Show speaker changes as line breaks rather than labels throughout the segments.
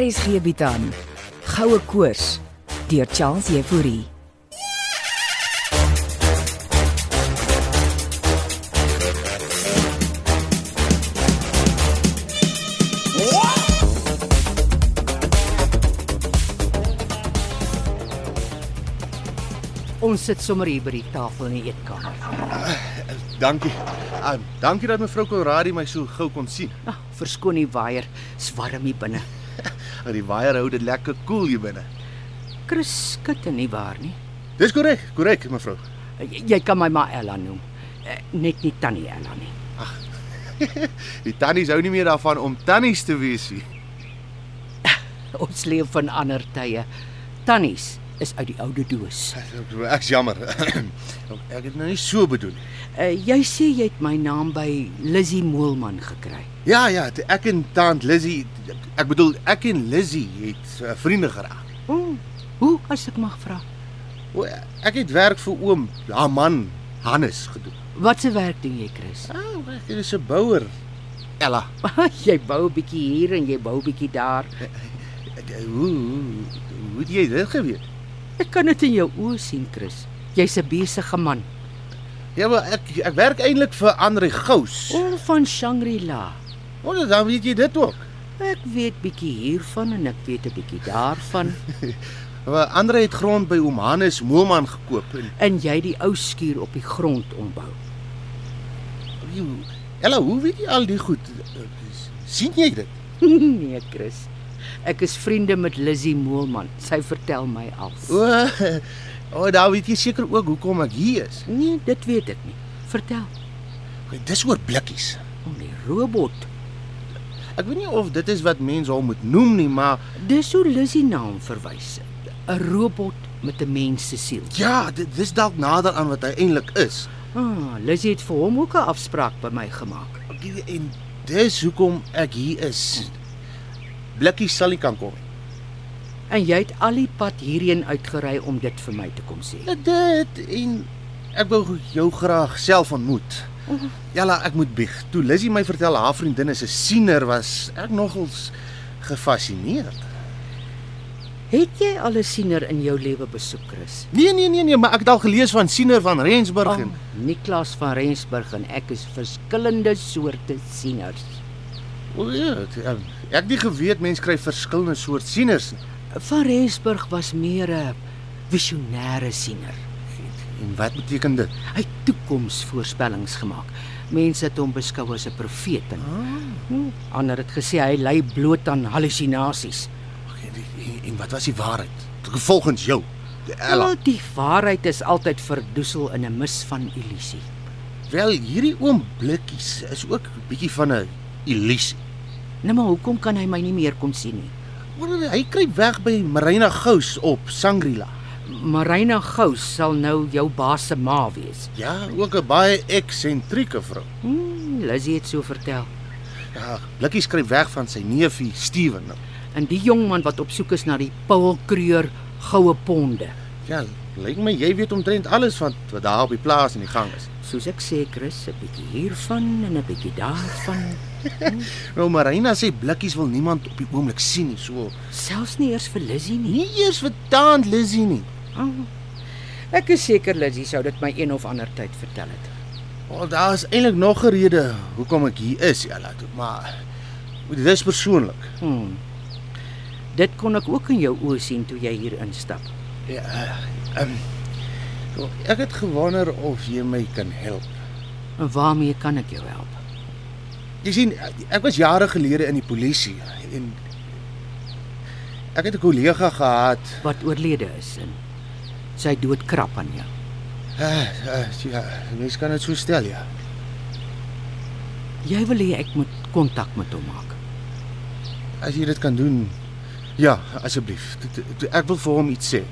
RSG bied aan Goue Koors deur Charles Euphorie.
Ons sit sommer hier by die tafel in die eetkamer.
Dankie. Um, dankie dat mevrou Konradi my so gou kon sien.
Ag, verskoon die waier, is warm hier binne.
En die waier hou dit lekker koel hier binne.
Chris skutte nie waar nie.
Dis korrek, korrek mevrou.
J jy kan my maar Ella noem. Eh, Net nie tannie Ella nie.
Die tannies hou nie meer daarvan om tannies te wees nie.
Ons leef van ander tye. Tannies is uit die oude doos.
Ek's jammer. Ek het nou nie so bedoel nie.
Uh, jy sê jy het my naam by Lizzie Moelman gekry.
Ja ja, t- ek en tant Lizzy, ek bedoel ek en Lizzy het eh, vriende geraak.
O, hoe as ek mag vra?
O, Ek het werk vir oom, haar man Hannes gedoen.
Wat se werk doen jy, Chris?
Ah, ek is 'n bouer. Ella,
jy bou 'n bietjie hier en jy bou 'n bietjie daar.
ek- eh, hoe hoe hoe het jy dit geweet?
Ek kan dit in jou oë sien, Chris. Jy's 'n besige man.
Ja, maar ek ek werk eintlik vir Andre Gous.
O, van Shangri-La.
Ons dan weet jy dit ook.
Ek weet bietjie hiervan en ek weet 'n bietjie daarvan.
Maar Andre het grond by oom Hannes Moelman gekoop en
en jy die ou skuur op die grond ombou.
Joe, Ella, hoe weet jy al die goed? sien jy dit?
nee, Chris. Ek is vriende met Lizzie Moelman. Sy vertel my alles.
O, o, daar weet jy seker ook hoekom ek hier is.
Nee, dit weet ek nie. Vertel.
Dis oor blikkies.
Om die robot.
Ek weet nie of dit is wat mense hom moet noem nie, maar
Dis hoe Lizzie na hom verwys. 'n Robot met 'n mens se siel.
ja, dit dis dalk nader aan wat hy eintlik is.
Ah, Lizzie het vir hom ook 'n afspraak by my gemaak.
Ek- En dis hoekom ek hier is. Blikkies sal nie kan kom nie.
En jy het al die pad hierheen uitgery om dit vir my te kom sê.
Ja, Dit en ek wou jou graag self ontmoet. Ella, ek moet bieg. Toe Lizzie my vertel haar vriendin is 'n siener was, ek nogals gefassineerd.
Het jy al 'n siener in jou lewe besoek, Chris?
Nee nee nee nee, maar ek het al gelees van Siener van Rensburg en
Niklas van Rensburg en ek is verskillende soorte sieners.
o ja, het- eh, ek het nie geweet mense kry verskillende soort sieners nie.
Van Rensburg was meer 'n visionêre siener.
En wat beteken dit?
Hy het toekomsvoorspellings gemaak. Mense het hom beskou as 'n profeet en hmm, ander het gesê hy ly bloot aan hallusinasies.
Ag, en, en- en wat was die waarheid? Volgens jou, Ella.
Al die waarheid is altyd verdoesel in 'n mis van illusie.
Wel, hierdie oom Blikkies is ook 'n bietjie van 'n illusie.
Nou maar hoekom kan hy my nie meer kom sien nie?
Hoor, hy kry weg by Marina Gous op Sangrila.
Marina Gous sal nou jou baas se ma wees.
Ja, ook 'n baie eksentrieke vrou.
Hmm, Lizzie het so vertel.
Ja, Blikkies kry weg van sy neefie Steven. nou.
En die jong man wat op soek is na die pulkreur goue ponde.
Ja, lyk my jy weet omtrent alles van wat daar op die plaas in die gang is.
Soos ek sê, Chris, 'n bietjie hiervan en 'n bietjie daarvan,
Nou Marina sê blikkies wil niemand op die oomblik sien nie. So
selfs nie eers vir Lizzie nie.
nie eers vir Tant Lizzie nie.
Oh, ek is seker Lizzie sou dit my een of ander tyd vertel het.
Wel daar is eintlik nog 'n rede hoekom ek hier is, Ella, toe, maar dis persoonlik.
Hmm. Dit kon ek ook in jou oë sien toe jy hier instap.
Ja, ehm um, ek het gewonder of jy my kan help.
En waarmee kan ek jou help?
Jy sien, ek was jare gelede in die polisie en ek het 'n kollega gehad
Wat oorlede is en sy dood krap aan jou.
Uh, uh, ja, mens kan dit so stel, ja.
Jy wil hê ek moet kontak met hom maak.
As jy dit kan doen. Ja, asseblief. Dit- dit- Ek wil vir hom iets sê.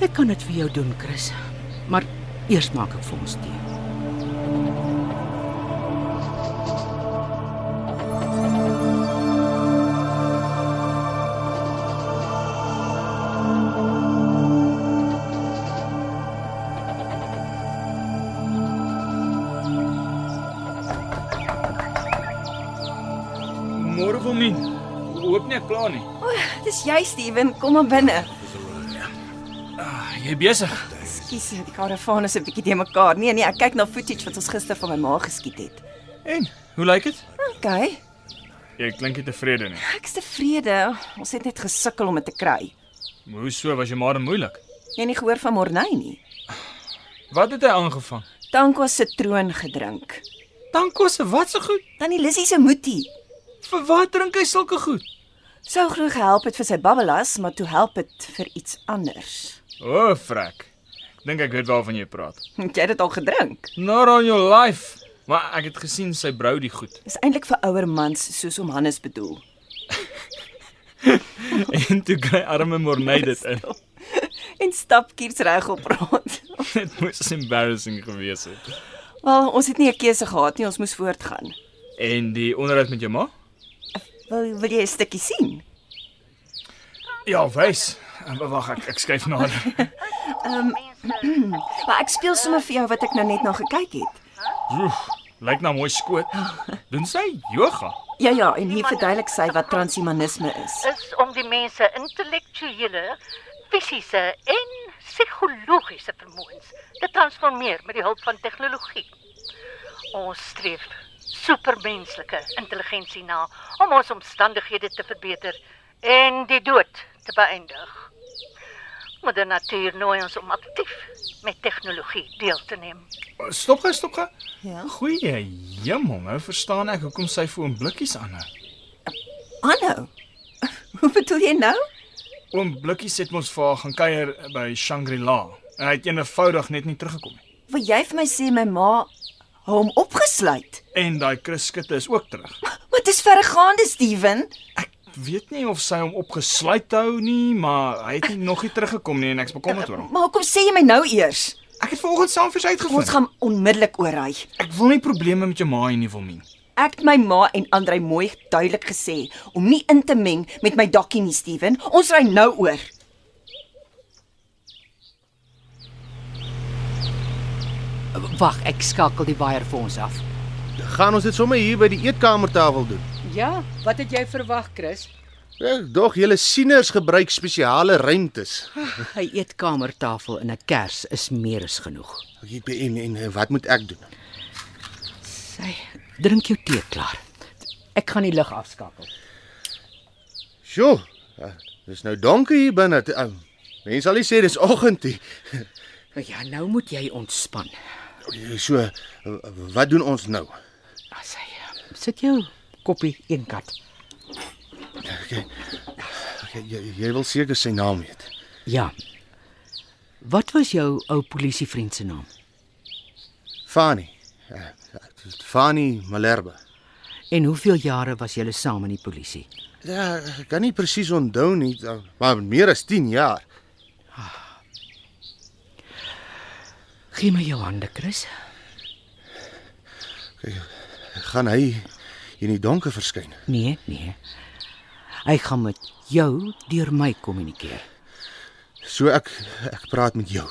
Ek kan dit vir jou doen, Chris. Maar eers maak ek vir ons tee.
Môre Wilmien. hoop nie ek pla nie.
Dis jy, Steven. Kom maar binne.
Ah, jy besig.
Ekskuus, die karavaan is 'n bietjie te mekaar. Nee nee, ek kyk na footage wat ons gister van my ma geskiet het.
En, hoe lyk dit?
OK.
Jy klink nie tevrede nie.
Ek's tevrede. Ons het net gesukkel om dit te kry.
Maar Hoe so was jy maar dan moeilik?
Jy het nie gehoor van Morney nie.
Wat het hy aangevang?
Tanko se troon gedrink.
Tankosse, wat se goed?
Tannie Lissy se moetie
Vir wat drink hy sulke goed?
sou glo gehelp het vir sy babbelas, maar toe help dit vir iets anders.
O, oh, frek. Ek dink ek weet waarvan jy praat.
Het jy dit al gedrink?
Not on your life. Maar ek het gesien sy brou die goed.
Dis eintlik vir ouer mans soos om Hannes bedoel.
En toe kry arme Morney dit in.
En stapkiers regop praat.
Dit moes embarrassing gewees het.
Wel, ons het nie 'n keuse gehad nie, ons moes voortgaan.
En die onderhoud met jou ma?
Wil wil jy 'n stukkie sien?
Ja, wys. Maar wag, ek, ek skuif nader.
Maar ek speel sommer vir jou wat ek nou net na gekyk het.
Oef, lyk na mooi skoot. Doen sy yoga?
Ja ja, en hier verduidelik sy wat transhumanisme is.
is om die mense intellektuele, fisiese en psigologiese vermoëns te transformeer met die hulp van tegnologie. Ons streef supermenslike intelligensie na om ons omstandighede te verbeter en die dood te beëindig. Moeder natuur nooi ons om aktief met tegnologie deel te neem.
Stop gou, stop gou.
Ja.
Goeie hemel, nou verstaan ek hoekom sy vir oom Blikkies aanhou.
Aanhou. Hoe bedoel jy nou?
Oom Blikkies het ons vir haar gaan kuier by Shangri-La. En hy het eenvoudig net nie teruggekom nie.
Wil jy vir my sê my ma hou hom opgesluit?
En daai Chris Skutte is ook terug.
Wat is verregaande, Steven?
Weet nie of sy hom opgesluit hou nie, maar hy het nie nog nie teruggekom nie en ek's bekommerd oor hom.
Maar hoekom sê jy my nou eers?
Ek het vanoggend saam vir sy
Ons
uitgevind.
gaan onmiddellik oorraai.
Ek wil nie probleme met jou ma hê nie, Wilmien.
Ek het my ma en Andrei mooi duidelik gesê om nie in te meng met my dakkie nie, Steven. Ons ry nou oor.
Wag, ek skakel die waier vir ons af.
Gaan ons dit sommer hier by die eetkamertafel doen?
Ja, wat het jy verwag, Chris?
Ek Eh, dog julle sieners gebruik spesiale ruimtes.
'n Eetkamertafel en 'n kers is meer as genoeg.
Ek en en eh, wat moet ek doen?
Sy, drink jou tee klaar. Ek gaan die lig afskakel.
Sjoe. eh, Dis nou donker hier binne. T- eh, Mense sal nie sê dis oggend nie.
Nou ja, nou moet jy ontspan.
So eh, wat doen ons nou?
Ah, Sy, eh, sit jou koppie eenkant.
Jy, jy- jy wil seker sy naam weet.
Ja. Wat was jou ou polisievriend se naam?
Fani. Eh, Fani Malherbe.
En hoeveel jare was julle saam in die polisie?
Ja, ek kan nie presies onthou nie, eh, maar meer as 10 jaar.
Gee my jou hande, Chris.
Gaan hy in die donker verskyn.
Nee, nee. Hy gaan met jou deur my kommunikeer.
So ek ek praat met jou.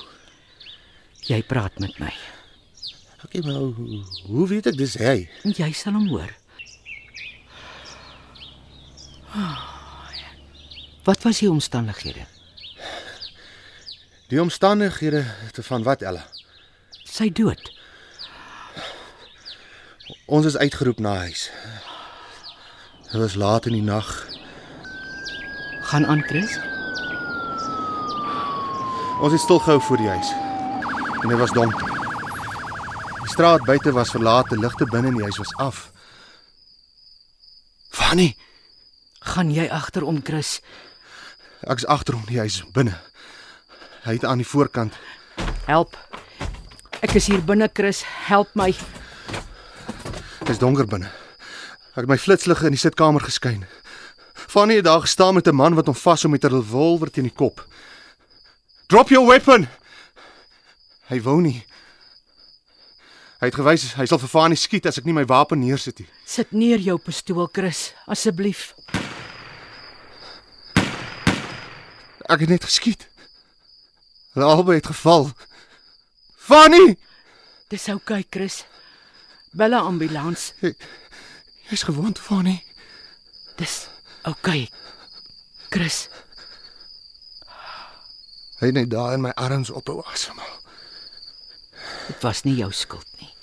Jy praat met my.
Okay, maar hoe, hoe weet ek dis hy?
En jy sal hom hoor. Wat was die omstandighede?
Die omstandighede te van wat Ella.
Sy dood.
Ons is uitgeroep na huis. Dit was laat in die nag.
Gaan aan, Chris.
Ons het stil gehou voor die huis. En dit was donker. Die straat buite was verlaat, die ligte binne in die huis was af. Fanny,
Gaan jy agterom, Chris?
ek's agter hom in die huis binne. Hy het aan die voorkant.
Help. Ek is hier binne, Chris. Help my.
Dit is donker binne. Ek het my flitslig in die sitkamer geskyn. Fanny het daar gestaan met 'n man wat hom vashou met 'n revolver teen die kop. Drop your weapon. Hy wou nie. Hy het gewys hy sal vir Fanny skiet as ek nie my wapen neersit nie.
Sit neer jou pistool, Chris, asseblief.
Ek het net geskiet. Hulle albei het geval. Fanny,
Dis oukei, okay, Chris. Bel 'n ambulans.
jy's gewond, Fanny.
Dis OK. Chris,
Hy het net daar in my arms ophou asemhaal.
dit was nie jou skuld nie.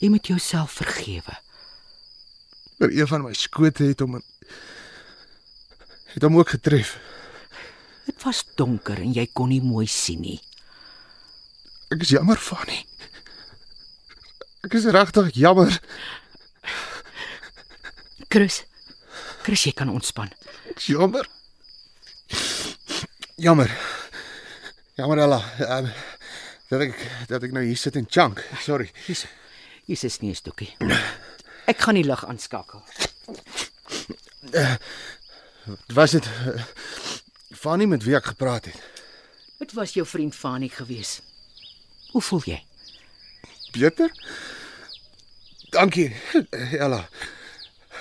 Jy moet jouself vergewe.
oor een van my skote het hom in het hom ook getref.
Dit was donker en jy kon nie mooi sien nie.
Ek is jammer van nie. Ek is regtig jammer.
Chris, Chris, jy kan ontspan.
Ek is jammer. Jammer. Jammer Ella. Um, dat ek dat ek nou hier sit en chunk. Sorry.
Jesus. Jesus nie 'n stokkie. Ek gaan die lig aanskakel.
Was dit eh, Fanny met wie ek gepraat het?
Dit was jou vriend Fanie gewees. Hoe voel jy?
Pieter? Dankie Ella.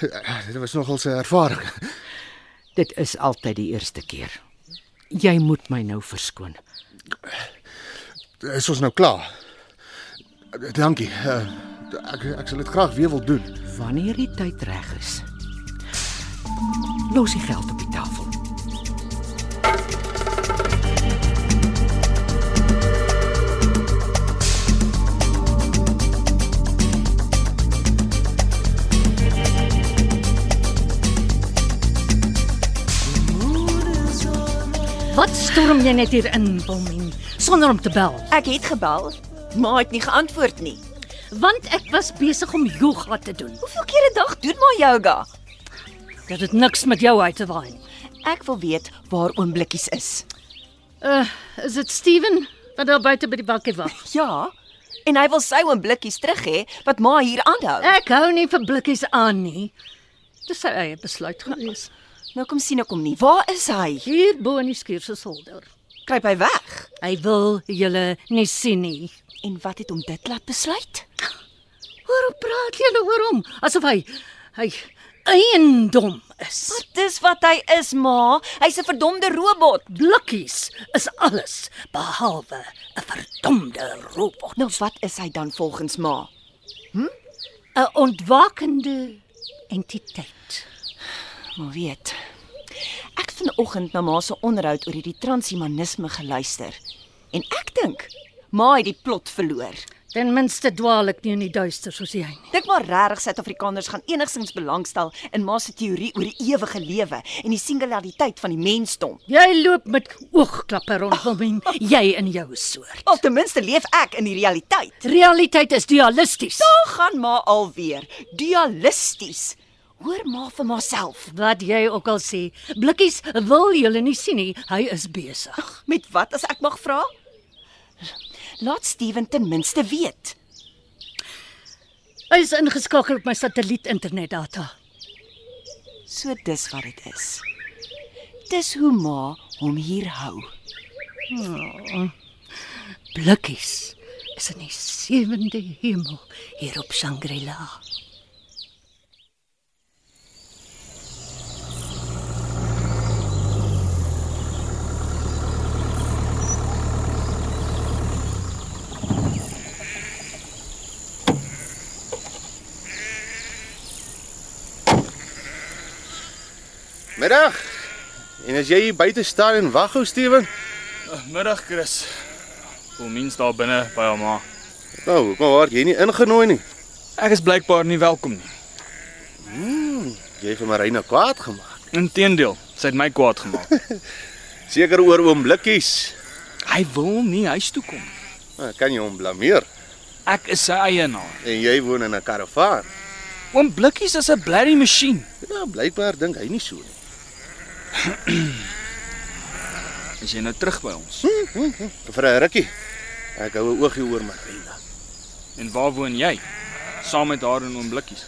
Eh, Dit was nogal 'n ervaring.
Dit is altyd die eerste keer. Jy moet my nou verskoon.
Is ons nou klaar? Dankie. eh, Ek ek sal dit graag weer wil doen.
Wanneer die tyd reg is. Los die geld op die tafel.
Wat storm jy net hier in, Wilmien, sonder om te bel?
Ek het gebel, maar hy het nie geantwoord nie.
Want ek was besig om yoga te doen.
Hoeveel keer 'n dag doen maar yoga?
Dit het niks met jou uit te waai nie.
Ek wil weet waar oom Blikkies is.
Uh, is dit Steven wat daar buite by die bakkie wag?
Ja, en hy wil sy oom Blikkies terug hê wat ma hier aanhou.
Ek hou nie vir blikkies aan nie. Dis sy eie besluit gewees.
Nou kom sien ek hom nie. Waar is hy?
Hier bo in die skuur se solder.
Kruip hy weg?
Hy wil julle nie sien nie.
En wat het hom dit laat besluit?
Hoekom praat julle oor hom asof hy hy eiendom is?
Dis wat hy is, ma. Hy's 'n verdomde robot.
Blikkies is alles behalwe 'n verdomde robot.
Nou wat is hy dan volgens ma?
'n ontwakende entiteit.
Maar weet. Ek het vanoggend na ma se onderhoud oor hierdie transhumanisme geluister en ek dink ma het die plot verloor.
Ten minste dwaal ek nie in die duister soos jy nie.
Dink maar regtig Suid-Afrikaners gaan enigsins belangstel in ma se teorie oor die ewige lewe en die singulariteit van die mensdom.
Jy loop met oogklappe rond, Wilmien, jy in jou soort.
Of ten minste leef ek in die realiteit.
Realiteit is dualisties.
Daar gaan ma alweer dualisties. Hoor ma vir myself.
Wat jy ook al sê, blikkies wil julle nie sien nie. Hy is besig.
Met wat as ek mag vra? Laat Steven ten minste weet.
Hy is ingeskakel op my satelliet internetdata.
So dis wat dit is. Dis hoe ma hom hier hou.
Blikkies is in die sewende hemel hier op Shangri-La.
Middag. En as jy hier buite staan en wag, ou Steven,
Middag Chris. Wilmiens daar binne by haar ma.
nou, hoekom word jy nie ingenooi nie?
Ek is blykbaar nie welkom nie.
Jy het vir Marina kwaad gemaak.
Inteendeel, sy het my kwaad gemaak.
Seker oor oom Blikkies.
hy wil nie huis toe kom.
Nou, Kan jy hom blameer?
Ek is sy eienaar.
En jy woon in 'n karavaan.
Oom Blikkies is 'n blerrie masjien.
Ja, blykbaar dink hy nie so nie.
As jy nou terug by ons.
Hm, Vir 'n rukkie. Ek hou 'n oogie oor Marina.
En waar woon jy? Saam met haar en oom Blikkies.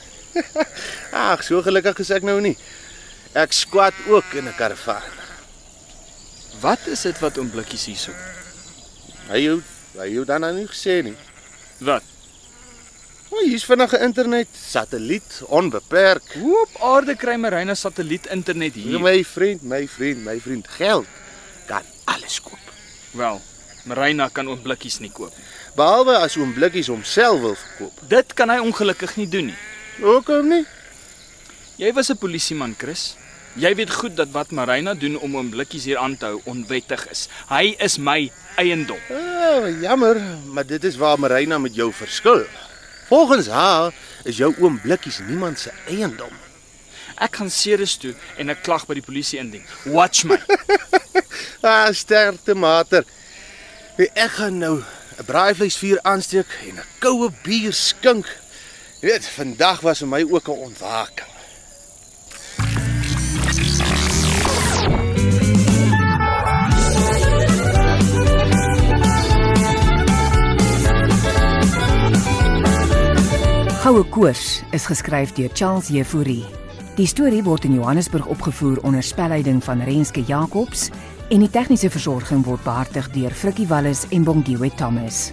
Ag, so gelukkig is ek nou nie. Ek squat ook in 'n karavaan.
Wat is dit wat oom Blikkies hier soek?
Hy hou hy hou dan aan nie gesê nie.
Wat?
O, hier's vinnige internet, satelliet, onbeperk.
Hoe op aarde kry Marina satelliet internet
Hier.
hier?
My vriend, my vriend, my vriend, geld kan alles koop.
Wel, Marina kan oom Blikkies nie koop.
Behalwe as oom Blikkies homself wil verkoop.
Dit kan hy ongelukkig nie doen nie.
Hoekom nie?
Jy was 'n polisieman, Chris. Jy weet goed dat wat Marina doen om oom Blikkies hier aan te hou onwettig is. Hy is my eiendom.
Oh, jammer, maar dit is waar Marina met jou verskil. Volgens haar is jou oom Blikkies niemand se eiendom.
Ek gaan Ceres toe en 'n klag by die polisie indien. Watch my.
Ah, sterkte mater. Wie ek gaan nou 'n braaivleisvuur aansteek en 'n koue bier skink. Jy weet, vandag was vir my ook 'n ontwaking.
Goue Koors is geskryf deur Charles Jefouri. Die storie word in Johannesburg opgevoer onder spelleiding van Renske Jacobs en die tegniese versorging word behartig deur Frikkie Wallis en Bongwe Thomas.